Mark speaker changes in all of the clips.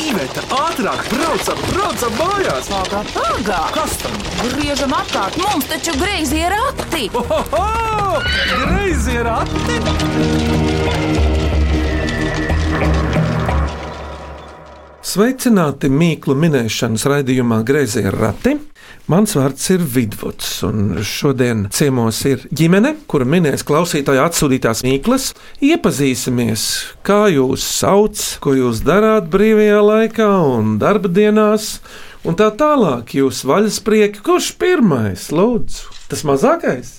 Speaker 1: Iveta, ātrāk, braucam, braucam mājās!
Speaker 2: Pagā, pagā!
Speaker 1: Kas tam?
Speaker 2: Griežam apkārt, mums taču greizi ir akti!
Speaker 1: Ohoho! Greizi ir ati!
Speaker 3: Sveicināti mīklu minēšanas raidījumā Grazē Rati. Mans vārds ir Vidvuds, un šodien ciemos ir ģimene, kura minēs klausītāju atsūtītās mīklas. Iepazīsimies, kā jūs sauc, ko jūs darāt brīvajā laikā un darba dienās, un tā tālāk jūs vaļasprieki, kurš pirmais lūdzu? Tas mazākais?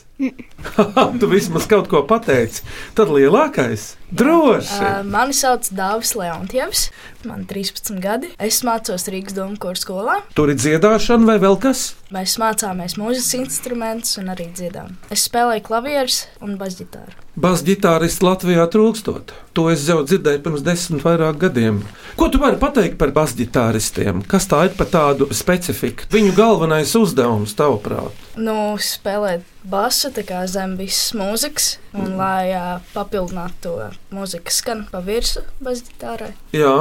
Speaker 3: tu vismaz kaut ko pateici, tad lielākais - droši!
Speaker 4: Uh, mani sauc Dāvis Leontievs, man ir 13 gadi. Es mācos Rīgas domu kursu skolā.
Speaker 3: Tur ir dziedāšana vai vēl kas?
Speaker 4: Mēs mācāmies mūzikas instrumentus un arī dziedām. Es spēlēju klavierus un basģitāru.
Speaker 3: Basģitārists Latvijā trūkstot. To es jau dzirdēju pirms desmit vairāk gadiem. Ko tu vari pateikt par basģitāristiem? Kas tā ir par tādu specifiku? Viņu galvenais uzdevums, tavuprāt,
Speaker 4: Nu, spēlēt basu, tā kā zem visas mūzikas, un lai uh, papildinātu to mūzikas skanu pa virsmu basģitārai.
Speaker 3: jā.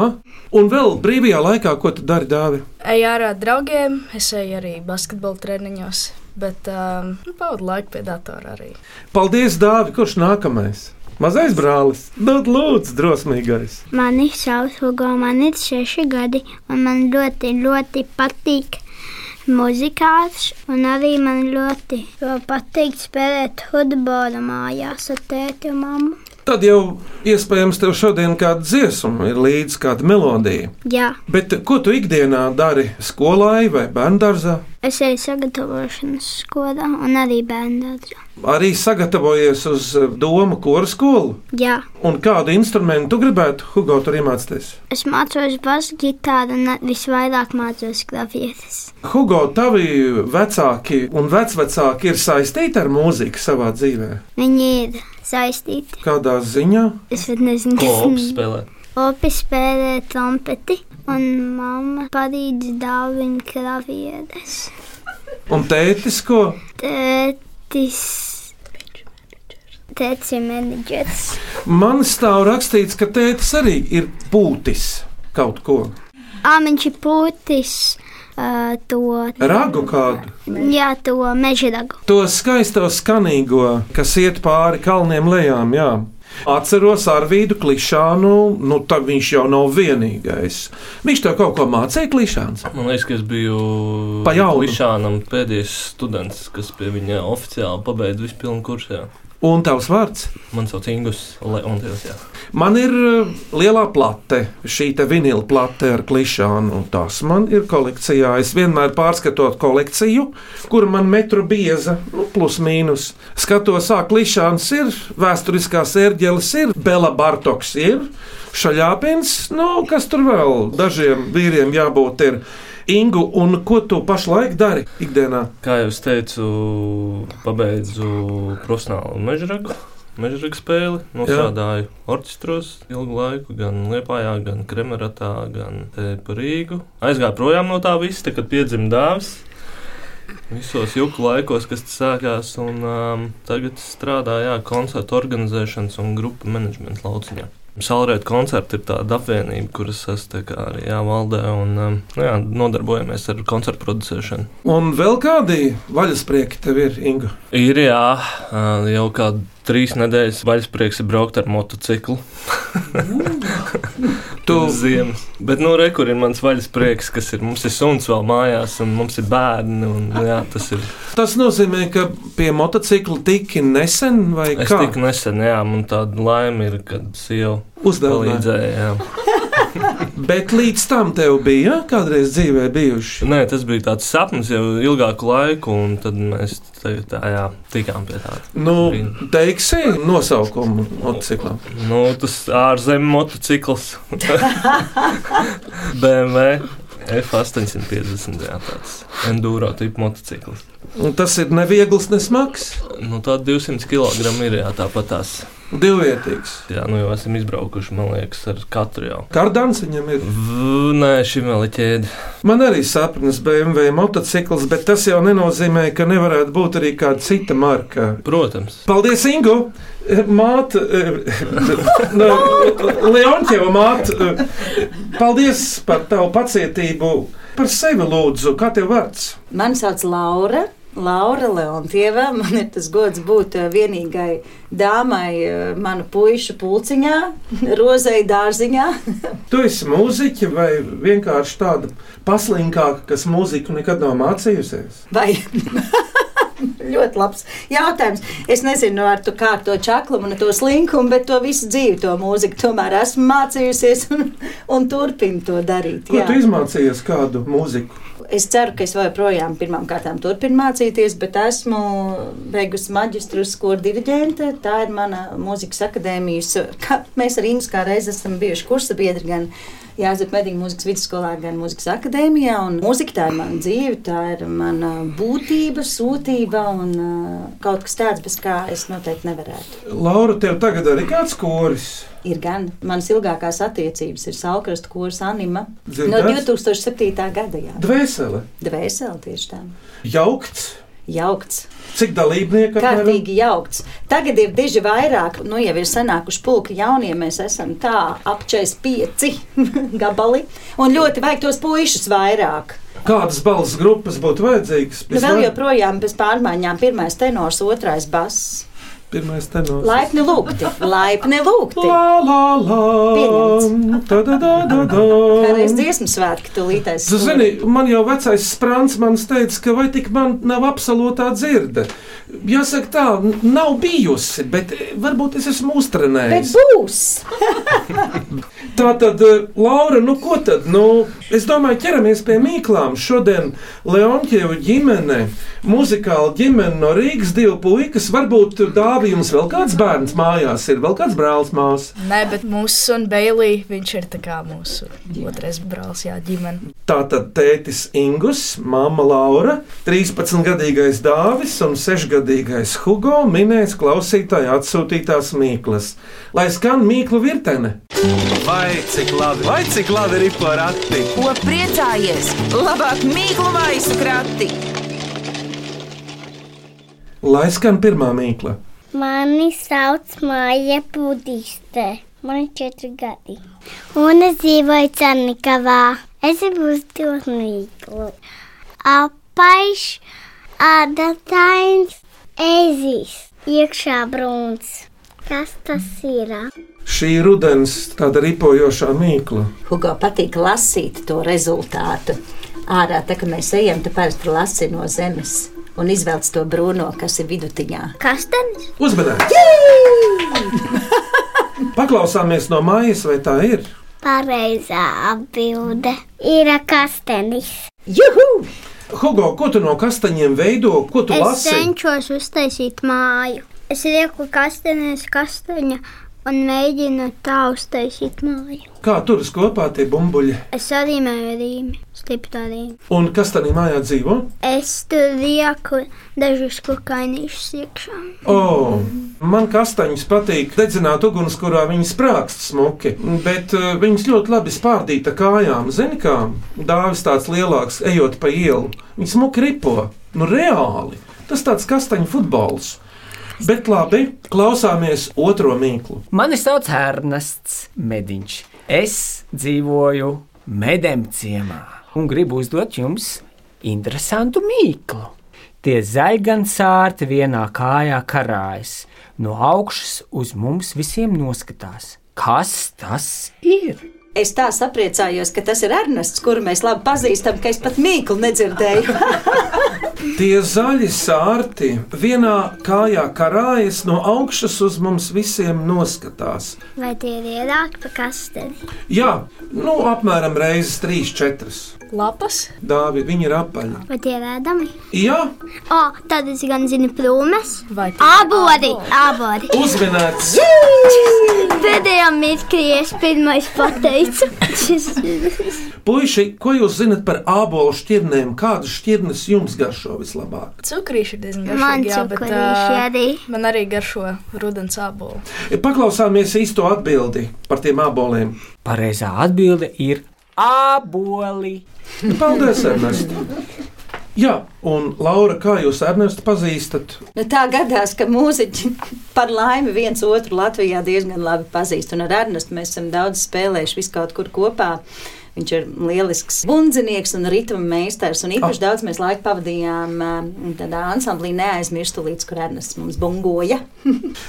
Speaker 3: Un vēl brīvajā laikā, ko tu dari, dāvi?
Speaker 4: Eju ārā ar draugiem, es eju arī basketbola treniņos, bet um, nu, pavadu laiku pie datora arī.
Speaker 3: Paldies, dāvi, kurš nākamais? Mazais brālis, dod lūdzu, drosmīgais.
Speaker 5: Mani sauc Hugo, man ir seši gadi, un man ļoti, ļoti patīk muzikāls. Un arī man ļoti patīk spēlēt futbolu mājās ar tēti un mammu.
Speaker 3: Tad jau iespējams tev šodien kāda dziesma ir līdzi, kāda melodija.
Speaker 5: Jā,
Speaker 3: Bet ko tu ikdienā dari skolai vai bērngārzā?
Speaker 5: es eju sagatavošanas skolā un arī bērnādā.
Speaker 3: arī sagatavojies uz eh, domu kora skolu.
Speaker 5: Jā,
Speaker 3: Un kādu instrumentu tu gribētu, Hugo, tur iemācīties?
Speaker 5: es mācos basģitāru un visvairāk mācos klavieres.
Speaker 3: Hugo, tavi vecāki un vecvecāki ir saistīti ar mūziku savā dzīvē.
Speaker 5: Viņi ir saistīti.
Speaker 3: Kādā ziņā?
Speaker 5: Es pat nezinu,
Speaker 6: Ko
Speaker 5: kas
Speaker 6: opis spēlē?
Speaker 5: Opi spēlē trompeti, un mamma palīdz dāvināt klavieres.
Speaker 3: Un tētis, ko?
Speaker 5: Tētis. Tētis ir menedžers.
Speaker 3: Man stāv rakstīts, ka tētis arī ir būtis kaut ko.
Speaker 5: Ā, viņš ir putis uh, to,
Speaker 3: Ragu kādu.
Speaker 5: jā, to meža dagu.
Speaker 3: To skaisto skanīgo, kas iet pāri kalniem lejām. Jā. Atceros Arvīdu klišānu, nu tad viņš jau nav vienīgais. Viņš tev kaut ko mācīja klišāns.
Speaker 6: Man liekas, ka es biju
Speaker 3: Pa jaunu.
Speaker 6: Lišānam pēdējais students, kas pie viņa oficiāli pabeidza vispilnu kursu. jā.
Speaker 3: Un tavs vārds?
Speaker 6: Man sauc Ingus Leontievs. jā.
Speaker 3: Man ir uh, lielā plate, šī te vinila plate ar klišānu. Tās man ir kolekcijā. Es vienmēr pārskatot kolekciju, kur man metru bieza, nu, plus mīnus. Skatos, kā klišāns ir, vēsturiskā sērģelis ir, Bela Bartoks ir, Šaļāpins, nu, kas tur vēl dažiem vīriem jābūt ir. Ingu, un ko tu pašlaik dari ikdienā?
Speaker 6: Kā jau es teicu, pabeidzu profesionālu mežragu. Mežraga spēli nostrādāju orķestros ilgu laiku, gan Lietpājā, gan Kremeratā, gan te pa Rīgu. Aizgāju projām no tā visa, te, kad piedzima dāvis. Visos juku laikos, kas tas sākās, un um, tagad strādāju jā, koncertu organizēšanas un grupu menedžmenta lauciņā. Salrēt koncerti ir tāda apvienība, kuras es tā kā arī jāvaldē un um, nu jā, nodarbojamies ar koncertu producēšanu.
Speaker 3: Un vēl kādi vaļasprieki tev ir, Ingu?
Speaker 6: Ir jā, ā, jau kā trīs nedēļas vaļasprieks ir braukt ar motociklu.
Speaker 3: Tu
Speaker 6: ziemas. Bet, nu, re, kur ir mans vaļasprieks, kas ir mums ir suns vēl mājās, un mums ir bērni. Un, jā, tas ir.
Speaker 3: Tas nozīmē, ka pie motocikla tiki nesen vai
Speaker 6: Es
Speaker 3: kā?
Speaker 6: tik nesen, jā, man tāda laime ir, kad sieva
Speaker 3: Uzdevums.
Speaker 6: palīdzēja. Jā.
Speaker 3: Bet līdz tam tev bija kādreiz dzīvē bijuši.
Speaker 6: Nē, tas bija tāds sapnis jau ilgāku laiku, un tad mēs tā, tā, jā, tikām pie tā.
Speaker 3: Nu,
Speaker 6: Bija.
Speaker 3: teiksim, nosaukumu motociklam.
Speaker 6: Nu, tas ārzemju motocikls. BMW. F850, jā, tāds enduro tipu motocikls.
Speaker 3: Un Tas ir neviegls, nesmags.
Speaker 6: Nu, tā 200 kg ir jā, tāpat tās.
Speaker 3: Divvietīgs.
Speaker 6: Jā, nu jau esam izbraukuši, man liekas, ar katru jau.
Speaker 3: Kardāns viņam ir.
Speaker 6: V, nē, šim vēl ir ķēde.
Speaker 3: Man arī sapnis BMW motocikls, bet tas jau nenozīmē, ka nevarētu būt arī kāda cita marka.
Speaker 6: Protams.
Speaker 3: Paldies, Ingu! Eh, Māte, Leončeva māte, eh, paldies par tavu pacietību. Par sevi lūdzu, kā tev vārds?
Speaker 7: Mani sauc Laura. Laura Leontieva, man ir tas gods būt eh, vienīgai dāmai eh, manu puīšu pulciņā, rozei dārziņā.
Speaker 3: Tu esi mūziķi vai vienkārši tāda paslinkāka, kas mūziku nekad nav mācījusies?
Speaker 7: Vai ļoti labs jautājums. Es nezinu, ar to kā ar to čaklumu un ar to slinkumu, bet to visu dzīvi, to mūziku tomēr esmu mācījusies un, un turpinu to darīt.
Speaker 3: Ko
Speaker 7: jā.
Speaker 3: tu izmācījies kādu mūziku?
Speaker 7: Es ceru, ka es joprojām pirmām kārtām turpinu mācīties, bet esmu beigusi maģistra skolu diriģente. Tā ir mana mūzikas akadēmijas. Kā, mēs ar Ingu kā reiz esam bijuši kursa biedri gan Jāzep Medīņu mūzikas vidusskolā, gan mūzikas akadēmijā. Un mūzika tā ir mana dzīve, tā ir mana būtība, sūtība un uh, kaut kas tāds, bez kā es noteikti nevarētu.
Speaker 3: Laura, tev tagad arī kāds koris?
Speaker 7: Ir gan manas ilgākās attiecības, ir Saukrastu kurs anima no
Speaker 3: Dzirdēts?
Speaker 7: 2007. gada. Jā,
Speaker 3: Dvēsele,
Speaker 7: dvēseli tieši tā.
Speaker 3: jaukts,
Speaker 7: Jaukts.
Speaker 3: cik dalībnieku apmēram?
Speaker 7: Kārtīgi jaukts. Tagad ir diži vairāk, nu jau ir senākuši pulki jaunie, mēs esam tā ap 45 gabali. Un ļoti vajag tos puišus vairāk.
Speaker 3: Kādas balss grupas būtu vajadzīgas?
Speaker 7: Nu, vēl joprojām bez pārmaiņām pirmais tenors, otrais bass.
Speaker 3: Pirmais tenors.
Speaker 7: Laipni lūgti, laipni lūgti.
Speaker 3: La, la, la.
Speaker 7: Pieņemts.
Speaker 3: Tā, tā, tā, tā,
Speaker 7: Kā reiz
Speaker 3: tā.
Speaker 7: dziesmu svētki tulītais.
Speaker 3: Tu zini, man jau vecais sprāns man teica, ka vai tik man nav absolūtā dzirde. Jāsaka tā, n- nav bijusi, bet eh, varbūt es esmu
Speaker 7: Bet
Speaker 3: uztrenējis.
Speaker 7: būs!
Speaker 3: Tā tad, eh, Laura, nu ko tad? Nu, es domāju, ķeramies pie mīklām. Šodien Leonķievu ģimene, muzikāla ģimene no Rīgas divi puikas. Varbūt Dāvijums vēl kāds bērns mājās ir, vēl kāds brālis mās.
Speaker 4: Nē, bet mūsu sunu Beilī, viņš ir tā kā mūsu otrais brālis, jā, ģimene.
Speaker 3: Tātad tētis Ingus, māma Laura, 13-gadīgais Dāvis un 6-gadīgais Hugo minēs klausītāju atsūtītās mīklas. Lai skan mīklu virtene,
Speaker 1: Vai cik labi, vai cik labi ir porati?
Speaker 2: Ko priecājies? Labāk mīklu maisu krati.
Speaker 3: lai skan pirmā mīkla.
Speaker 5: Mani sauc Māja Budiste. Man ir četri gadi. Un es dzīvoju Cernikavā. Es gribu uzdot mīklu. Apaiš, adatains, ezis, iekšā brūns. Kas tas ir?
Speaker 3: Šī ir rudens tāda ripojošā mīkla.
Speaker 7: Hugo patīk lasīt to rezultātu. Ārā, tā kā mēs ejam, tu parasti lasi no zemes un izvelc to brūno, kas ir vidutiņā.
Speaker 5: Kas tad ir?
Speaker 3: Uzmanības! Paklausāmies no mājas, vai tā ir?
Speaker 5: Pareizā atbilde ir kastenis.
Speaker 7: Juhu!
Speaker 3: Hugo, ko tu no kastaņiem veido? Ko tu
Speaker 5: Es
Speaker 3: lasi?
Speaker 5: cenšos uztaisīt māju. Es lieku kastenēs kastaņa un mēģinu tā uztaisīt māju.
Speaker 3: Kā turas kopā tie bumbuļi?
Speaker 5: Es arī mēģināju rīmi, stipri rīmi.
Speaker 3: Un kastanī mājā dzīvo?
Speaker 5: Es tur lieku dažus kukainīšus iekšā.
Speaker 3: O, man kastaņus patīk dedzināt uguns, kurā viņi sprākst smuki, bet eh, viņas ļoti labi spārdīta kājām. Zini, kā dāvis tāds lielāks, ejot pa ielu. Viņi smuki ripo, nu reāli. Tas tāds kastaņu futbols. Bet labi, klausāmies otro mīklu.
Speaker 8: Mani sauc Ernests Mediņš. Es dzīvoju medemciemā un gribu uzdot jums interesantu mīklu. Tie zaļgan sārti vienā kājā karājas, no augšas uz mums visiem noskatās. Kas tas ir?
Speaker 7: Es tā sapriecājos, ka tas ir Ernests, kuru mēs labi pazīstam, ka es pat mīklu nedzirdēju.
Speaker 3: Tie zaļi sārti vienā kājā karājas, no augšas uz mums visiem noskatās.
Speaker 5: Vai tie ir ielāgti pa kasteni?
Speaker 3: Jā, nu apmēram reizes trīs, četras.
Speaker 4: Lapas,
Speaker 3: Dāvi, viņi ir apaļi.
Speaker 5: Vai tie ir ēdami?
Speaker 3: Jā,
Speaker 5: O, tad es gan zinu plūmes.
Speaker 4: vai tā?
Speaker 5: Abodi! Abodi!
Speaker 3: Uzminēts,
Speaker 5: Pēdējā mirklī es pirmais pateicu. Šis-
Speaker 3: puiši, ko jūs zinat par ābolu šķirnēm? Kādas šķirnes jums garšo? garšo vislabāk?
Speaker 4: Cukurīši ir diezgan
Speaker 5: Man
Speaker 4: garšīgi. Jā, bet,
Speaker 5: cukurīši
Speaker 4: ā,
Speaker 5: arī.
Speaker 4: man arī garšo rudens sābolu.
Speaker 3: Paklausāmies īsto atbildi par tiem aboliem.
Speaker 8: Pareizā atbilde ir aboli.
Speaker 3: Paldies, Ernest! Jā, un Laura, kā jūs Ernestu pazīstat?
Speaker 7: Nu, tā gadās, ka mūziķi par laimi viens otru Latvijā diezgan labi pazīst. Un ar Ernestu mēs esam daudz spēlējuši visu kaut kur kopā. Viņš ir lielisks bundzinieks un ritma meistars. Un īpaši daudz mēs laika pavadījām ā, tādā ansamblī neaizmirstu līdz, kur Ernests mums bungoja.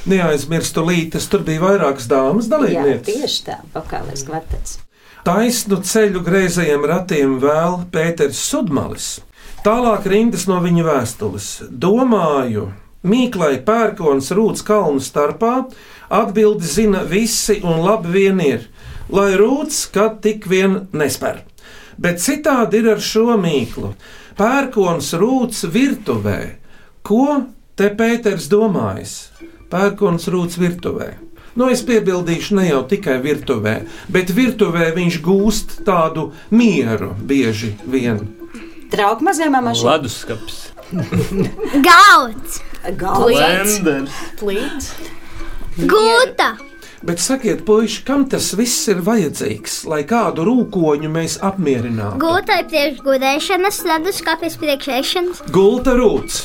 Speaker 3: Neaizmirstu lītes, tur bija vairākas dāmas
Speaker 7: Jā,
Speaker 3: dalībnieces.
Speaker 7: tieši tā, vokālais kvartets.
Speaker 3: Taisnu ceļu greizajiem ratiem vēl Pēters Sudmalis. Tālāk rindas no viņa vēstules. Domāju, Mīklai pērkons rūts kalnu starpā atbildi zina visi un labi vien ir, lai rūts, kad tik vien nespēr. Bet citādi ir ar šo mīklu. Pērkons rūts virtuvē. Ko te Pēters domājis? Pērkons rūts virtuvē. Nu, es piebildīšu ne jau tikai virtuvē, bet virtuvē viņš gūst tādu mieru bieži vien.
Speaker 7: Trauku mazajā mašīnā.
Speaker 6: Leduskapis.
Speaker 5: Gauts,
Speaker 4: Plīts,
Speaker 6: Blenders.
Speaker 4: plīts.
Speaker 5: gūta,
Speaker 3: Bet sakiet, puiši, kam tas viss ir vajadzīgs, lai kādu rūkoņu mēs apmierinātu?
Speaker 5: gūta ir priekš gudēšanas, leduskapis priekš ēšanas,
Speaker 3: Gulta rūts.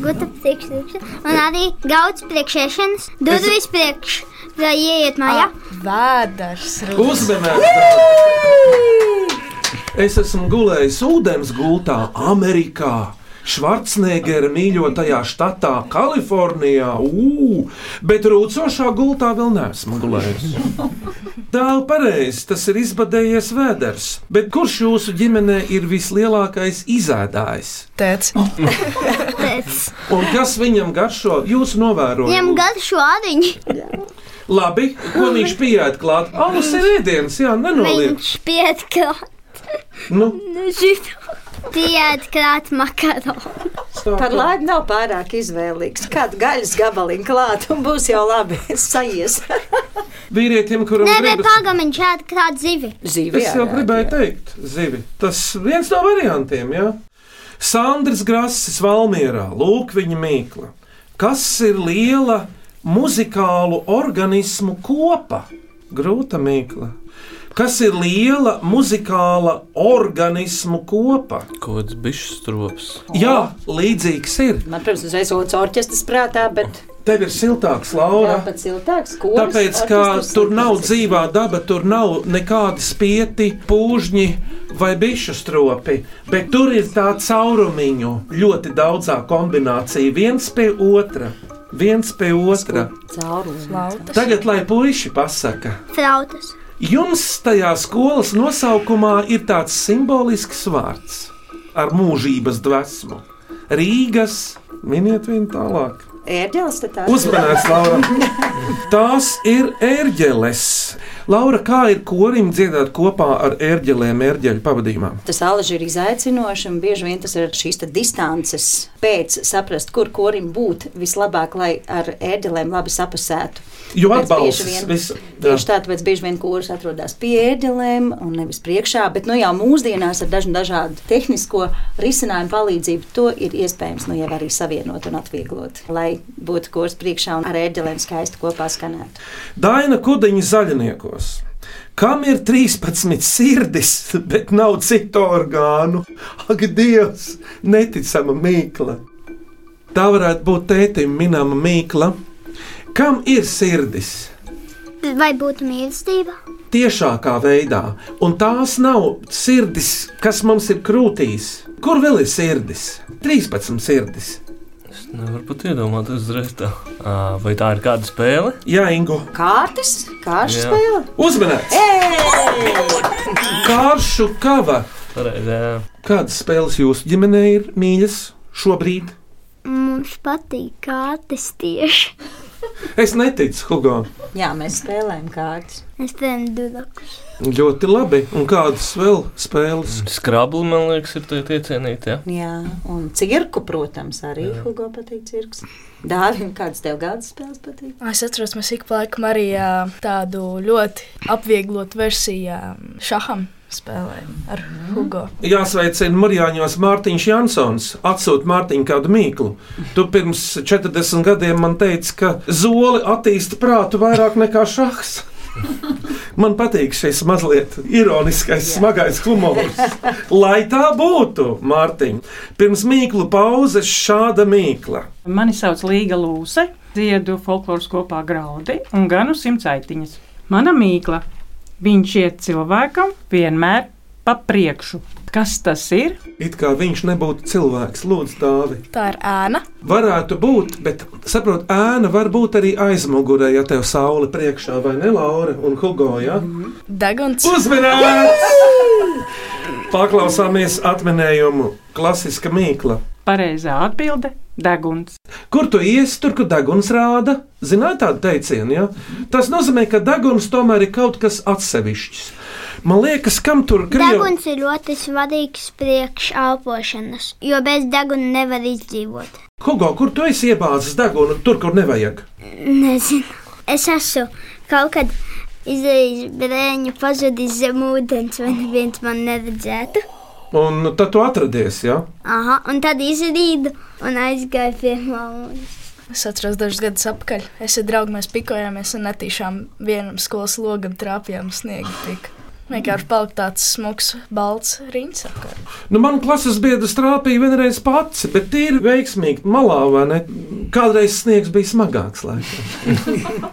Speaker 5: gūta priekš rīkšanas, un arī gauts priekš ēšanas, durvis priekš, lai ieiet mājā.
Speaker 4: Vēders. rudens.
Speaker 3: Uzmanības! Es esmu gulējis ūdens gultā Amerikā. Švarcnēgera mīļotajā štatā, Kalifornijā, Ū, bet rūcošā gultā vēl neesmu gulējis. Tālu pareizi, tas ir izbadējies vēders. Bet kurš jūsu ģimenē ir vislielākais izēdājs?
Speaker 4: Tēts.
Speaker 5: Pēc.
Speaker 3: Un kas viņam garšo? Jūs
Speaker 5: Viņam
Speaker 3: novērojat,
Speaker 5: gada šodiņi,
Speaker 3: labi, ko viņš pieejat klāt? Alus ir ēdiens, jā, nenoliedz.
Speaker 5: viņš pietkrāt,
Speaker 3: Nu,
Speaker 5: pietkrāt makaronu.
Speaker 3: stāv
Speaker 7: Par
Speaker 3: tā.
Speaker 7: laimi nav pārāk izvēlīgs. Kādu gaļas gabaliņu klāt un būs jau labi sajies.
Speaker 3: vīrietim, kuram
Speaker 5: Nē, bet
Speaker 3: gribas.
Speaker 5: pagam viņš atkrāt zivi.
Speaker 7: Zīve.
Speaker 3: Es jau gribēju teikt, zivi. Tas viens no variantiem, jā. Sandrs Grasis Valmierā, lūk viņa mīkla. Kas ir liela muzikālu organismu kopa? Grūta mīkla. Kas ir liela muzikāla organismu kopa?
Speaker 6: Kods bišs strops.
Speaker 3: Jā, līdzīgs ir.
Speaker 7: Man, protams, uzreiz otrs orķestris prātā, bet
Speaker 3: Tev ir siltāks,
Speaker 7: Jā,
Speaker 3: Laura.
Speaker 7: pat siltāks, ko
Speaker 3: Tāpēc, ka tur nav dzīvā daba, tur nav nekādi spieti, pūžņi vai bišu stropi, bet tur ir tā caurumiņu ļoti daudzā kombinācija, viens pie otra. Viens pie otra.
Speaker 7: caurums.
Speaker 4: Plautas.
Speaker 3: Tagad, lai puiši pasaka,
Speaker 5: Frautas,
Speaker 3: jums tajā skolas nosaukumā ir tāds simbolisks vārds ar mūžības dvēsmu. Rīgas, miniet vienu tālāk.
Speaker 7: Ērģeles te tāds.
Speaker 3: Uzmanīgs, Laura! Tās ir ērģeles. Laura, kā ir korim dziedāt kopā ar ērģelēm, ērģeļu pavadījumā?
Speaker 7: Tas alaži ir izaicinoši, un bieži vien tas ir šīs te distances pēc saprast, kur korim būt vislabāk, lai ar ērģelēm labi sapasētu.
Speaker 3: Jo
Speaker 7: Tāpēc bieži
Speaker 3: atbalsts
Speaker 7: vien-
Speaker 3: visu. jā.
Speaker 7: Tieši tā, tāpēc bieži vien kurs atrodas pie ērģelēm un nevis priekšā, bet nu jau mūsdienās ar dažu dažādu tehnisko risinājumu palīdzību to ir iespējams nu jau arī savienot un atvieglot, lai būtu kurs priekšā un ar ērģelēm skaisti kopā skanētu.
Speaker 3: Daina Kudiņa zaļniekos. Kam ir 13 sirdis, bet nav citu orgānu? Ak, Dievs, neticama mīkla. Tā varētu būt tētim minama mīkla. Kam ir sirdis?
Speaker 5: vai būtu mīlestība?
Speaker 3: tiešākā veidā, un tās nav sirdis, kas mums ir krūtīs. Kur vēl ir sirdis? 13 sirdis.
Speaker 6: Es nevaru pat iedomāties uzreiz tā. Ā, Vai tā ir kāda spēle?
Speaker 3: Jā, Ingu,
Speaker 7: Kārtas, kārtas
Speaker 6: Jā.
Speaker 7: spēle.
Speaker 3: uzmanīts! Kāršu kava!
Speaker 6: Pareizi, jā.
Speaker 3: Kādas spēles jūsu ģimenē ir mīļas šobrīd?
Speaker 5: Mums patīk kārtas tieši.
Speaker 3: Es neticu, Hugo.
Speaker 7: Jā, mēs spēlējam kārtas.
Speaker 5: Es spēlēju dudakus.
Speaker 3: Ļoti labi. Un kādas vēl spēles?
Speaker 6: Skrabli, man liekas, ir tie iecienītie.
Speaker 7: Jā, un cirku, protams, arī Hugo patīk cirks. Dāvim, kādas tev gada spēles patīk?
Speaker 4: Es atceros, mēs ik pa laikam arī ā, tādu ļoti apvieglotu versiju ā, šaham spēlējām ar Hugo.
Speaker 3: Jāsveicina Marijāņos Mārtiņš Jansons. Atsūta Mārtiņu kādu mīklu. Tu pirms 40 gadiem man teici, ka zoli attīsta prātu vairāk nekā šahs. Man patīk šis mazliet ironiskais, smagais humors. Lai tā būtu, Mārtiņ, pirms mīklu pauzes šāda mīkla.
Speaker 9: Mani sauc Līga Lūse, dziedu folkloras kopā graudi un ganu simtsaitiņas. Mana mīkla. Viņš iet cilvēkam vienmēr pa priekšu. Kas tas ir?
Speaker 3: It kā viņš nebūtu cilvēks, lūdzu, dāvi.
Speaker 4: Tā ir ēna.
Speaker 3: Varētu būt, bet saprotu, ēna var būt arī aizmugurē, ja tev saule priekšā vai ne, Laura un Hugo. Ja?
Speaker 4: Deguns.
Speaker 3: Uzmanīgs! Paklausāmies atminējumu klasiska mīkla.
Speaker 9: Pareizā atbilde - deguns.
Speaker 3: Kur tu iesi, tur kur deguns rāda? Ziniet, tāda teiciena, ja? Tas nozīmē, ka deguns tomēr ir kaut kas atsevišķs. Man liekas, kam tur krievi?
Speaker 5: Deguns ir ļoti svarīgs priekš elpošanas, jo bez deguna nevar izdzīvot.
Speaker 3: Hugo, kur tu esi iebāzis degunu, tur kur nevajag?
Speaker 5: Nezinu. Es esmu kaut kad izdarījis brēņu, pazudis zem ūdens, vai neviens man neredzētu.
Speaker 3: Un tad tu atradies, ja?
Speaker 5: Aha, un tad izrīdu un aizgāju pie mammas.
Speaker 4: Es atceros dažus gadus atpakaļ. Es ar draugu mēs pikojāmies un netīšām vienam skolas logam trāpījām sniegu tik. Vienkārši palika tāds smags, balts riņķis.
Speaker 3: Nu, man klases biedrs trāpīja vienreiz pats, bet tīri veiksmīgi malā, vai ne? Kādreiz sniegs bija smagāks. Laikam.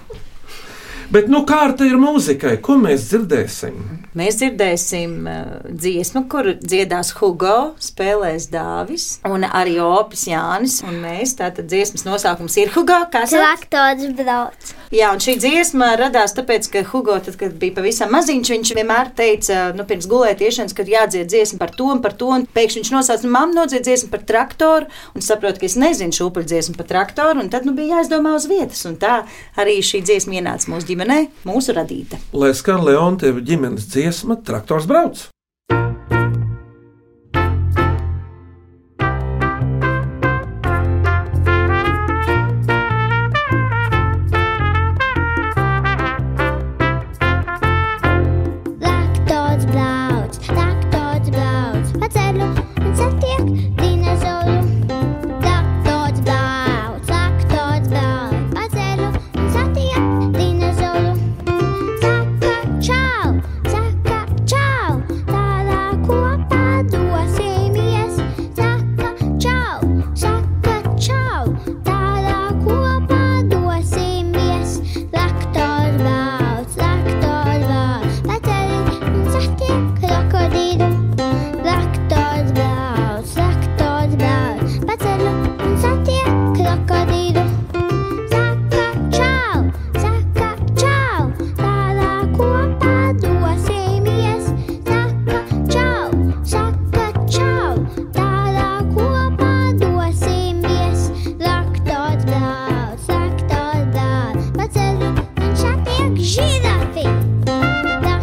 Speaker 3: bet nu kārta ir mūzikai, ko mēs dzirdēsim?
Speaker 7: Mēs dzirdēsim eh, dziesmu, kur dziedās Hugo, spēlēs Dāvis un arī Opis Jānis. Un mēs tātad dziesmas nosaukums ir Hugo. Kas sauc?
Speaker 5: Traktors brauc.
Speaker 7: Jā, un šī dziesma radās tāpēc, ka Hugo, tad, kad bija pavisam maziņš, viņš vienmēr teica, nu, pirms gulētiešanas, kad jādzied dziesma par to un par to. Un pēkšņi viņš nosauca, nu, mamma nodzied dziesmu par traktoru, un saprot, ka es nezinu šo upuru dziesmu par traktoru, un tad, nu, bija jāizdomā uz vietas. Un tā arī šī dziesma ienāca mūsu ģimenē, mūsu radīta.
Speaker 3: Lai skan Leontev ģimenes dziesma, traktors brauc.
Speaker 5: Laktots brauc, laktots brauc pa ceļu un satiek dinozauru. Laktots brauc, laktots brauc pa ceļu un satiek dinozauru. Saka čau, saka čau, tādā kopā dosimies. Saka čau, saka čau, tādā kopā dosimies. Laktots brauc, laktots brauc pa ceļu un satiek krokodīlu. Laktots brauc, laktots brauc pa ceļu un satiek krokodīlu. Saka čau, saka čau, tādā kopā dosimies. Saka čau, saka čau, tādā kopā dosimies. Laktots brauc, laktots brauc pa ceļu un satiek žirafi. Laktots brauc, laktots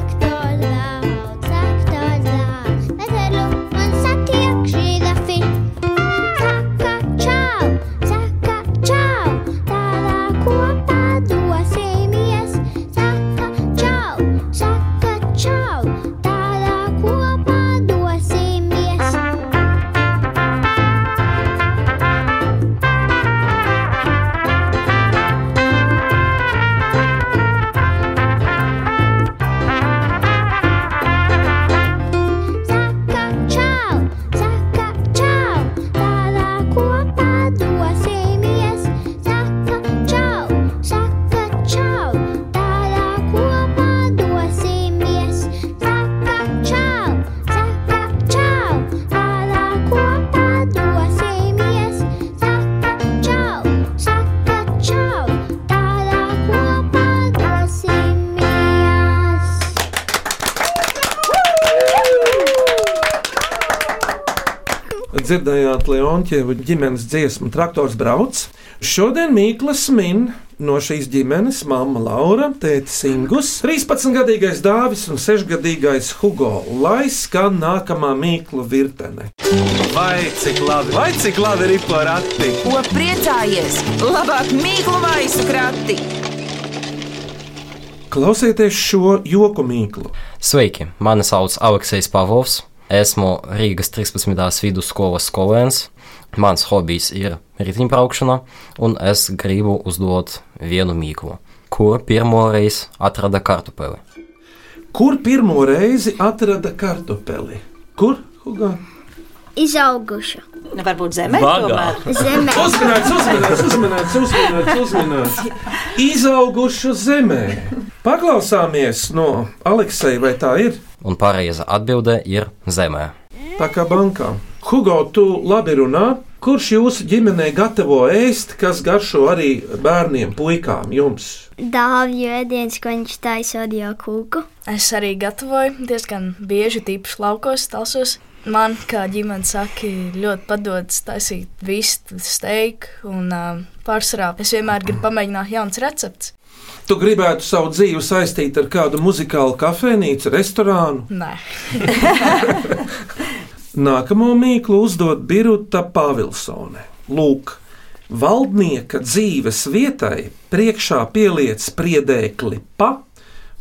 Speaker 3: dzirdējāt Leonķievu ģimenes dziesmu Traktors brauc. Šodien Mīklas min no šīs ģimenes mamma Laura, tētis Ingus, 13-gadīgais Dāvis un 6-gadīgais Hugo, lai skan nākamā Mīklu virtene.
Speaker 1: Vai cik labi, vai cik labi ir porakti?
Speaker 2: Ko priecājies? Labāk mīklu maisu krati!
Speaker 3: Klausieties šo joku Mīklu.
Speaker 10: Sveiki, mani sauc Aleksijs Pavlovs. Esmu Rīgas 13. vidusskolas skolēns. Mans hobijs ir riteņbraukšana, un es gribu uzdot vienu mīklu, ko pirmoreiz atrada kartupeli.
Speaker 3: Kur pirmo reizi atrada kartupeli? Kur? Hugo?
Speaker 5: Izauguša
Speaker 7: Nu, Varbūt zemē
Speaker 6: Vagā.
Speaker 7: tomēr.
Speaker 5: zemē.
Speaker 3: Uzmanīts, uzmanīts, uzmanīts, uzmanīts, uzmanīts. Izaugušu zemē. Paklausāmies no Aleksija, vai tā ir?
Speaker 10: Un pareiza atbilde ir zemē.
Speaker 3: Tā kā bankā. Hugo, tu labi runā. Kurš jūsu ģimenē gatavo ēst, kas garšo arī bērniem, puikām, jums?
Speaker 5: Dāvju ēdienas, ko viņš taisa audio kūku.
Speaker 4: Es arī gatavoju diezgan bieži, tīpaši laukos, talsos. Man, kā ģimenes saka, ļoti padodas taisīt vistu, steiku un uh, pārsvarā. Es vienmēr gribu pamēģināt jaunas receptes.
Speaker 3: Tu gribētu savu dzīvi saistīt ar kādu muzikālu kafejnīcu, restorānu.
Speaker 4: Nē,
Speaker 3: Nākamo mīklu uzdod Birta Pāvilsone. Lūk, valdnieka dzīves vietai priekšā pieliec spriedēkli pa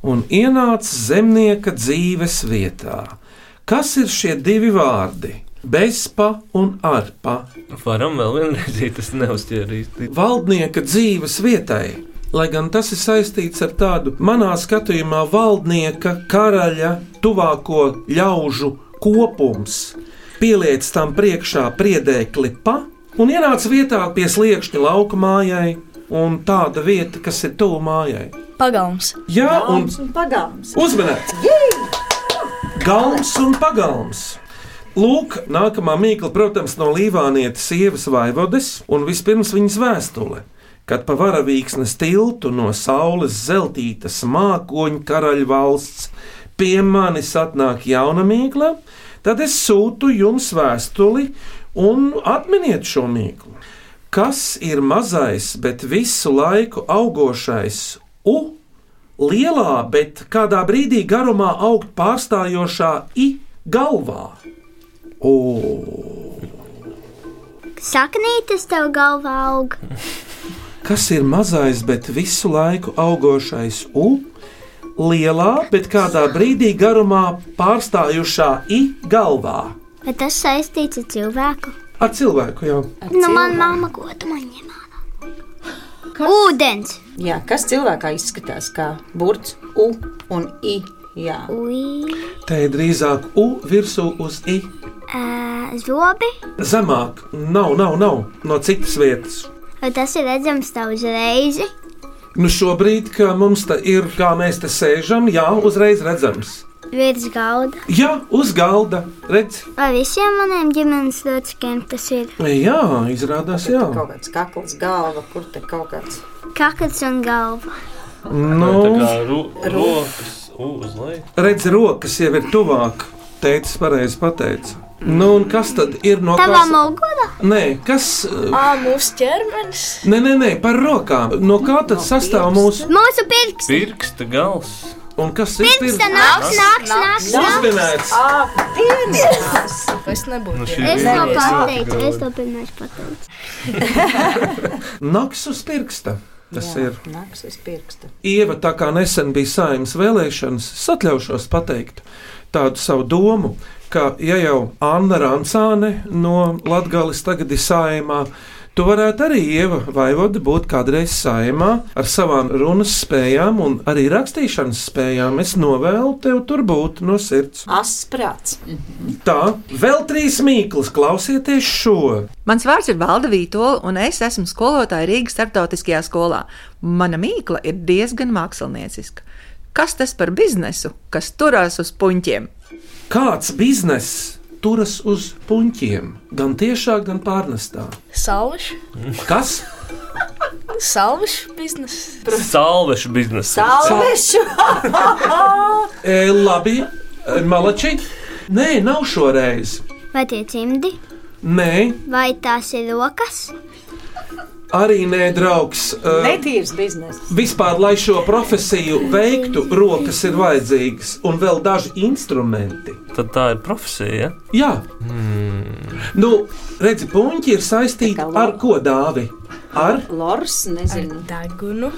Speaker 3: un ienāc zemnieka dzīves vietā. Kas ir šie divi vārdi? Bezpa un arpa.
Speaker 6: Varam vēl vienreiz, ja tas neuzķērīs.
Speaker 3: valdnieka dzīves vietai. Lai gan tas ir saistīts ar tādu, manā skatījumā, valdnieka, karaļa, tuvāko ļaužu kopums, pieliec tam priekšā priedēkli pa un ienāc vietā pie sliekšņa lauka mājai. Un tāda vieta, kas ir tuvu mājai.
Speaker 4: pagalms.
Speaker 3: Jā, un
Speaker 7: Galms un pagalms.
Speaker 3: uzmanīts! Galms un pagalms! Lūk, nākamā mīkla, protams, no Līvānietes sievas vaivodes, un vispirms viņas vēstule. Kad pa varavīksnes tiltu no saules zeltītas mākoņa karaļa valsts pie manis atnāk jauna mīkla, tad es sūtu jums vēstuli un atminiet šo mīklu. Kas ir mazais, bet visu laiku augošais U lielā, bet kādā brīdī garumā augt pārstājošā i galvā. O,
Speaker 5: Saknītes tev galvā aug.
Speaker 3: kas ir mazais, bet visu laiku augošais u? Lielā, bet kādā brīdī garumā pārstājušā i galvā.
Speaker 5: Vai tas saistīts ar cilvēku?
Speaker 3: Ar cilvēku jau.
Speaker 5: Nu, man mamma gotu man ņem. Ūdens!
Speaker 7: Jā, kas cilvēkā izskatās kā burts U un I. Jā,
Speaker 5: Ui,
Speaker 3: Te ir drīzāk u virsū uz i.
Speaker 5: ā, zobi!
Speaker 3: Zemāk, nav, nav, nav no citas vietas.
Speaker 5: Vai tas ir redzams tā uzreiz?
Speaker 3: Nu šobrīd, kad mums te ir, kā mēs te sēžam, jā, uzreiz redzams.
Speaker 5: Virs galda.
Speaker 3: Jā, uz galda redz.
Speaker 5: Vai visiem maniem ģimenes locekļiem tas ir
Speaker 3: Jā, izrādās, jā.
Speaker 7: kaut kāds kakls, galva, kur te kaut kāds.
Speaker 5: kakls un galva?
Speaker 6: Tā
Speaker 3: Nu,
Speaker 6: kā ro- rokas u, uz leju.
Speaker 3: redz, rokas jau ir tuvāk. Teicis, pareizi pateica. Nu, un kas tad ir no
Speaker 5: Tavā
Speaker 3: kas?
Speaker 5: mugurā?
Speaker 3: Nē, kas? uh,
Speaker 4: Ā, mūsu ķermenis.
Speaker 3: Nē, nē, nē, par rokām. No kā tad sastāv mūsu?
Speaker 5: Mūsu pirksts!
Speaker 6: Pirksta gals.
Speaker 3: Un kas ir
Speaker 5: Tā nāks, nāks, nāks! nāks.
Speaker 3: Uzminēts.
Speaker 7: Dienas!
Speaker 4: Es nebūtu.
Speaker 6: Nu, šī
Speaker 5: Es
Speaker 6: bija
Speaker 5: to
Speaker 6: ļoti
Speaker 5: pateicu,
Speaker 6: grauda.
Speaker 5: es to pirmais pateicu.
Speaker 3: Naks uz pirksta. Tas
Speaker 7: Jā,
Speaker 3: ir.
Speaker 7: Nāks uz pirksta.
Speaker 3: Ieva, tā kā nesen bija saimnes vēlēšanas, atļaušos pateikt tādu savu domu, ka, ja jau Anna Rančāne no Latvijas tagad ir saimā, tu varētu arī Ieva Vaivoda būt kādreiz saimā ar savām runas spējām un arī rakstīšanas spējām. Es novēlu tev tur būt no sirds.
Speaker 7: Asprāts.
Speaker 3: Tā, vēl trīs mīklas, klausieties šo!
Speaker 11: Mans vārds ir Valda Vītola, un es esmu skolotāja Rīgas starptautiskajā skolā. Mana mīkla ir diezgan mākslinieciska. Kas tas par biznesu, kas turās uz puņķiem?
Speaker 3: Kāds bizness turas uz puņķiem, gan tiešā, gan pārnestā?
Speaker 4: Salvaš,
Speaker 3: Kas?
Speaker 4: salvaš biznes.
Speaker 6: Salvešu biznesa.
Speaker 7: Salvešu!
Speaker 3: E, labi, e, Malači. Nē, nav šoreiz.
Speaker 5: Vai tie cimdi?
Speaker 3: Nē,
Speaker 5: Vai tās ir rokas?
Speaker 3: arī nē, draugs. Uh,
Speaker 7: Netīrs biznesa.
Speaker 3: Vispār, lai šo profesiju veiktu, rokas ir vajadzīgas un vēl daži instrumenti.
Speaker 6: Tad tā ir profesija.
Speaker 3: Jā,
Speaker 6: Mm.
Speaker 3: nu, redzi, puņķi ir saistīti ar ko dāvi? Ar?
Speaker 7: Lors, nezinu.
Speaker 4: Degunu.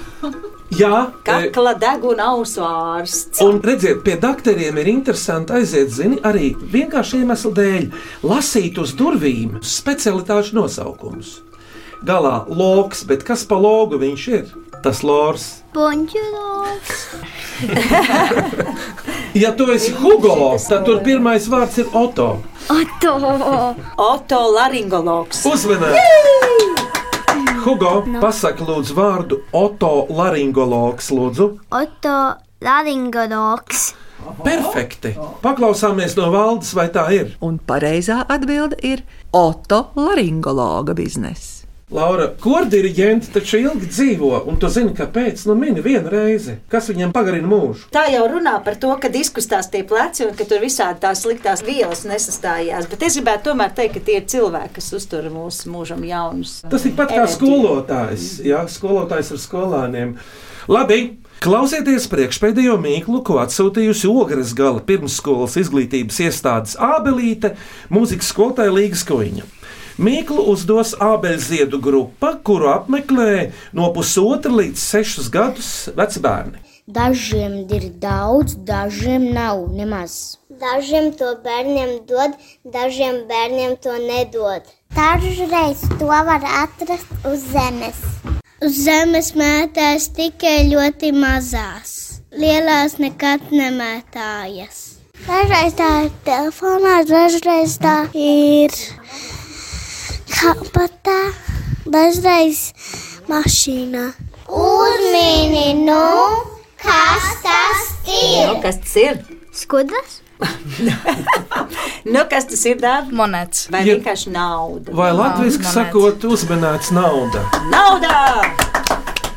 Speaker 3: Jā, e,
Speaker 7: Kakla deguna ausu ārsts.
Speaker 3: Un redziet, pie doktoriem ir interesanti aiziet, zini, arī vienkārši iemesla dēļ lasīt uz durvīm specialitāšu nosaukumus. Galā loks, bet kas pa logu viņš ir? Tas lors.
Speaker 5: Puņķis.
Speaker 3: Ja tu esi Hugo, tad tur pirmais vārds ir Oto.
Speaker 5: Oto.
Speaker 7: Oto laringologs.
Speaker 3: Uzmanīgi! Hugo, pasak lūdzu vārdu Oto laringologs, lūdzu.
Speaker 5: Oto laringologs.
Speaker 3: Perfekti! Paklausāmies no valdes, vai tā ir.
Speaker 11: Un pareizā atbilde ir Oto laringologa biznesa.
Speaker 3: Laura, kordiriģenti taču ilgi dzīvo, un tu zini, kāpēc? Nu, mini vienu reizi, kas viņam pagarina mūžu.
Speaker 7: Tā jau runā par to, ka diskustās tie pleci un ka tur visādi tās sliktās vielas nesastājās. Bet es gribētu tomēr teikt, ka tie ir cilvēki, kas uztur mūsu mūžam jaunus.
Speaker 3: Tas ir pat kā skolotājs, ja skolotājs ar skolāniem. Labi! Klausieties priekšpēdējo mīklu, ko atsūtījusi Ogres gala pirmsskolas izglītības iestādes Ābelīte, mūzikas skolotāja Līgas Koņa. Mīklu uzdos ābelziedu grupa, kuru apmeklē no pusotra līdz sešus gadus veci bērni.
Speaker 12: Dažiem ir daudz, dažiem nav nemaz.
Speaker 5: Dažiem to bērniem dod, dažiem bērniem to nedod. Dažreiz to var atrast uz zemes. Uz zemes mētās tikai ļoti mazās. Lielās nekad nemētājas. Dažreiz tā ir telefonā, dažreiz tā ir kapatā, dažreiz mašīnā. Uzmini, nu, kas tas
Speaker 7: Nu, kas tas ir?
Speaker 5: Skudras?
Speaker 7: Nu, kas tas ir? Dāvi?
Speaker 4: Monēts.
Speaker 7: Vai
Speaker 3: Ja-
Speaker 7: vienkārši nauda?
Speaker 3: Vai latviešu sakot, uzmanīts nauda?
Speaker 7: Nauda!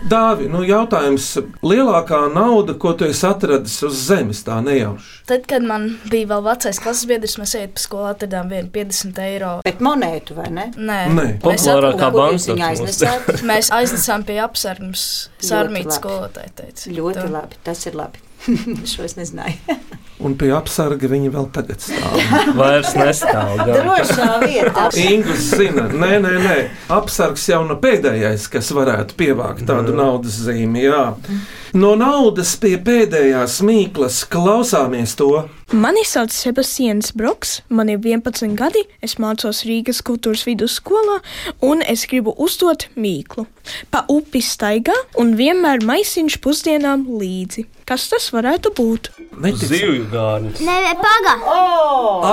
Speaker 3: Dāvi, nu jautājums, lielākā nauda, ko tu esi atradis uz zemes, tā nejauši.
Speaker 4: Tad, kad man bija vēl vecais klases biedrs, mēs ejam pa skolu, atradām vienu 50 eiro.
Speaker 7: Bet monētu vai ne?
Speaker 4: Nē,
Speaker 3: Nē.
Speaker 4: mēs,
Speaker 6: Populārākā
Speaker 4: atradām-
Speaker 6: banka.
Speaker 7: Kur jūs viņu aiznesāt?
Speaker 4: mēs aiznesām pie apsardzes. Sārmītas
Speaker 7: labi.
Speaker 4: skolotāja teica.
Speaker 7: Ļoti
Speaker 4: Tu-
Speaker 7: labi, tas ir labi. Šo es nezināju.
Speaker 3: Un pie apsarga viņa vēl tagad stāv.
Speaker 6: Vairs nestāv. gan.
Speaker 7: Drošā vietā.
Speaker 3: Ingus zina, nē, nē, nē. apsargs jau no pēdējais, kas varētu pievākt tādu naudas zīmi. Jā. No naudas pie pēdējās mīklas klausāmies to.
Speaker 13: Mani sauc Sebastians Broks, man ir 11 gadi, es mācos Rīgas kultūras vidusskolā, un es gribu uzdot mīklu. Pa upi staigā un vienmēr maisiņš pusdienām līdzi. Kas tas varētu būt?
Speaker 3: Neticami.
Speaker 6: Zivju gārnis.
Speaker 5: Nē, paga!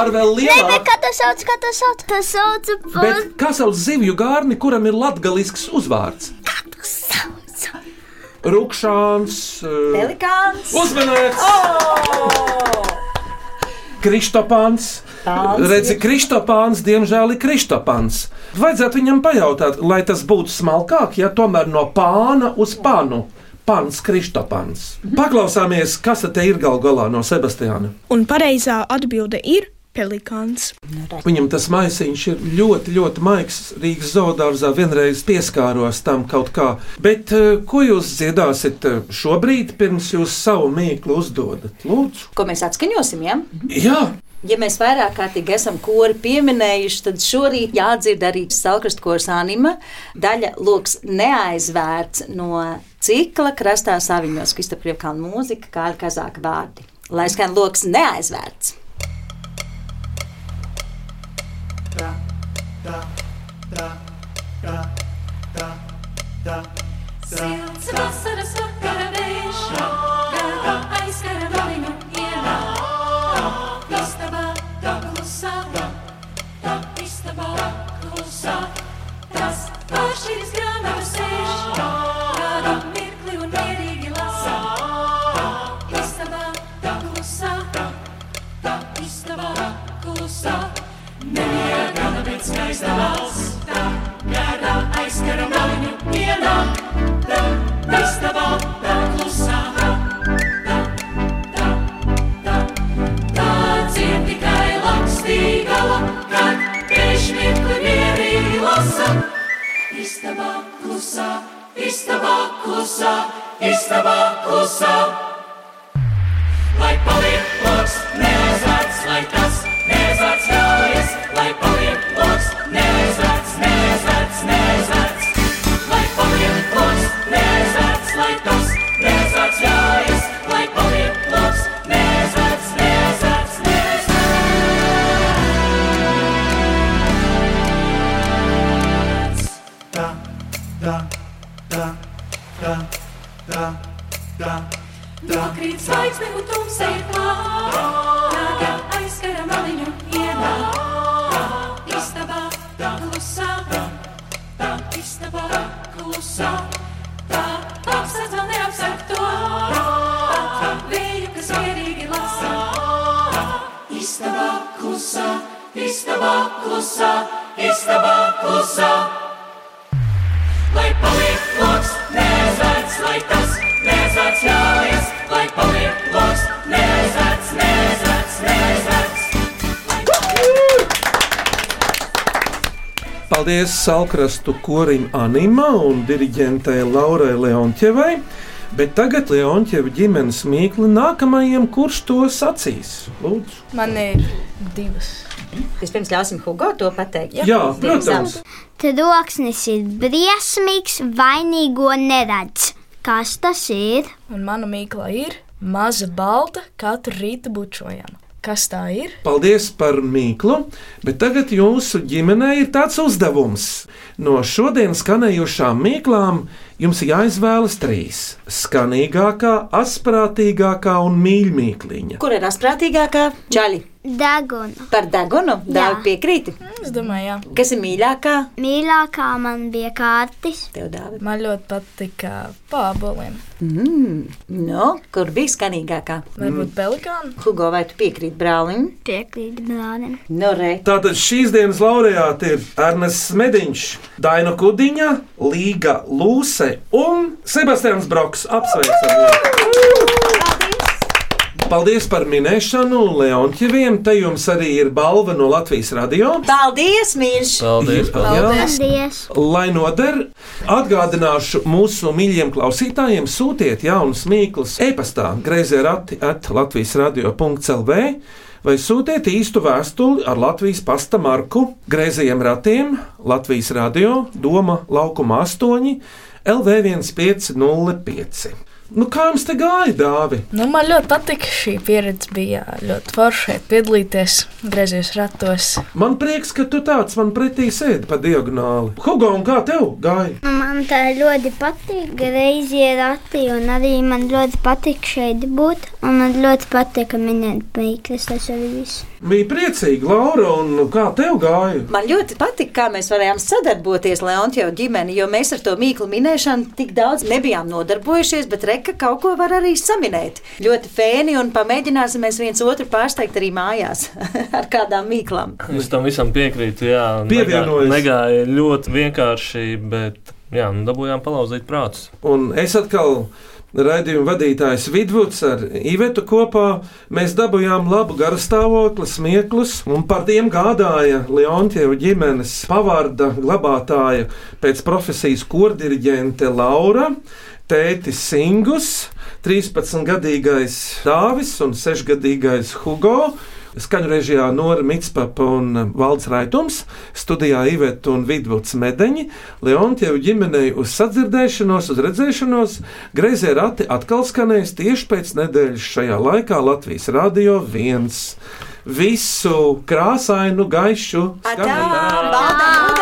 Speaker 3: Ar vēl
Speaker 5: Nē,
Speaker 3: lielāku.
Speaker 5: kā tas sauc, kā tas sauc? Tas sauc
Speaker 3: Bet kā sauc zivju gārni, kuram ir latgalisks uzvārds? Rukšāns. Uh,
Speaker 7: Delikāns!
Speaker 3: uzmanēts! Kristopāns.
Speaker 7: Pāns
Speaker 3: Redzi,
Speaker 7: ir.
Speaker 3: Kristopāns, diemžēl, ir Kristopāns. Vajadzētu viņam pajautāt, lai tas būtu smalkāk, ja tomēr no pāna uz pānu. Pāns Kristopāns. Paklausāmies, kas te ir gal galā no Sebastiāna.
Speaker 13: Un pareizā atbilde ir pelikāns.
Speaker 3: Viņam tas maisiņš ir ļoti, ļoti maigs. Rīgas zoodārzā vienreiz pieskāros tam kaut kā. Bet eh, ko jūs dziedāsiet eh, šobrīd, pirms jūs savu mīklu uzdodat? Lūdzu,
Speaker 7: Ko mēs atskaņosim? Ja?
Speaker 3: jā,
Speaker 7: ja mēs vairāk kārtīgi esam kori pieminējuši, tad šorīt jādzird arī Salkrastkors anima daļa loks neaizvērts no cikla krastā saviņos Kristaprievkalna mūzika, kā ir kazāka vārdi. Lai skan loks neaizvērts.
Speaker 14: Silts vasaras vakara vējš, galva aizskara valiņu ielā. Istabā klusā, tā istabā klusā. Tas pāršķiris grāmatu sēž, kādu mirkli un mierīgi lasa. Istabā klusā, tā istabā klusā. Nemiera gana pēc skaista valsta, gārā aizskara valiņu ielā. Tā istabā klusā, tā, tā, tā, tā. Tā dzird tikai lakstīgala, kad priekšmirkli istabā klusā, istabā klusā. Lai paliek loks, neuzvārds, lai tas neuzvārds ļaujas, lai paliek loks, neuzvārds, neuzvārds, neuzvārds. Lai paliek loks, neuzvārds, lai tas neuzvārds ļaujas, lai paliek loks, neuzvārds, neuzvārds, neuzvārds.
Speaker 15: Da, da, da, da, da, da, da.
Speaker 14: Nokrīt zvaigzne un tumsa ir klāta. Nāga aizskara maliņu ienā. Istabā klusā. Tā istabā klusā. Tā apsardz vēl neapsardz to. Tā vēju, kas mierīgi lasa.
Speaker 15: Istabā klusā,
Speaker 14: Istabā klusā. Istabā klusā. Lai paliek loks, nezvērts, lai tas nezvērts ļaujas, lai paliek loks, nezvērts, nezvērts, nezvērts.
Speaker 3: Paldies Salkrastu korim Anima un diriģentei Laurai Leontievai. Bet tagad Leontieva ģimenes mīkli nākamajam, kurš to sacīs. Lūdzu.
Speaker 7: Man ir divas. Vispirms ļausim Hugo to pateikt.
Speaker 3: Jā, protams.
Speaker 5: Troksnis ir briesmīgs, vainīgo neredz. Kas tas ir?
Speaker 4: Un mana mīkla ir maza balta, katru rītu bučojama. Kas tā ir?
Speaker 3: Paldies par mīklu, bet tagad jūsu ģimenei ir tāds uzdevums. No šodienas skanējušām mīklām jums ir jāizvēlas trīs - skanīgākā, asprātīgākā un mīļākā.
Speaker 7: Kur ir asprātīgākā? Čaļi.
Speaker 5: Daguna.
Speaker 7: Par degunu
Speaker 5: Jā.
Speaker 7: dāvā piekrīti.
Speaker 4: Es domāju, jā.
Speaker 7: Kas ir mīļākā?
Speaker 5: Mīļākā man bija kārtis.
Speaker 7: Tev dāvā.
Speaker 4: Man ļoti patika uh, pāboliem.
Speaker 7: Mm, nu, kur bija skanīgākā?
Speaker 4: Varbūt pelikāna.
Speaker 7: Hugo, vai tu piekrīti brālim?
Speaker 5: Piekrīt brālim.
Speaker 7: Nu, re.
Speaker 3: Tātad šīs dienas laureāti ir Ernests Mediņš, Daina Kudiņa, Līga Lūse un Sebastians Broks. Apsveicam! Paldies par minēšanu Leonķeviem. Te jums arī ir balva no Latvijas radio.
Speaker 7: Paldies, mīļš!
Speaker 3: Paldies!
Speaker 5: Paldies.
Speaker 3: Lai noder, atgādināšu mūsu mīļajiem klausītājiem, sūtiet jaunus mīklus e-pastā, grazē rati at Latvijas radio.clv vai sūtiet īstu vēstuli ar Latvijas pasta marku Grēzējiem ratiem Latvijas radio Doma laukuma 8 LV1505. Nu, kā jums te gāja, Dāvi?
Speaker 4: Nu, man ļoti patika šī pieredze. Bija ļoti forši šeit piedalīties, griezties ratos.
Speaker 3: Man prieks, ka tu tāds man pretī sēdi pa diagonāli. Hugo, un kā tev gāja?
Speaker 5: Nu, Man tā ļoti patīk, greizi rati, un arī man ļoti patīk šeit būt. Un man ļoti patīk minēt pīksts, tas arī viss.
Speaker 3: Bija priecīgi, Laura, un nu, kā tev gāja?
Speaker 7: Man ļoti patīk, kā mēs varējām sadarboties Leontija ģimeni, jo mēs ar to mīklu minēšanu tik daudz nebijām nodarbojušies, bet reka kaut ko var arī saminēt. Ļoti fēni un pamēģināsimies viens otru pārsteigt arī mājās ar kādām mīklām.
Speaker 6: Es tam visam piekrītu. Jā,
Speaker 3: Pievienojos.
Speaker 6: Negā- Negāja ļoti vienkārši, bet jā, nu, dabūjām palauzīt prātus.
Speaker 3: Un es atkal raidījuma vadītājs Vidvuds ar Ivetu kopā. Mēs dabūjām labu garastāvokli, smieklus, un par tiem gādāja Leontieva ģimenes pavārda glabātāja pēc profesijas kordirģente Laura, tētis Singus, 13-gadīgais Dāvis un 6-gadīgais Hugo. Skaņu režijā Nora Mitspapa un Valds Raitums, studijā Iveta un Vidvuds Medeņi, Leontievu ģimenei uz sadzirdēšanos, uz redzēšanos, greizie rati atkal skanēs tieši pēc nedēļas šajā laikā Latvijas Rādio 1. Visu krāsainu, gaišu, skanējumu!
Speaker 7: Baldām!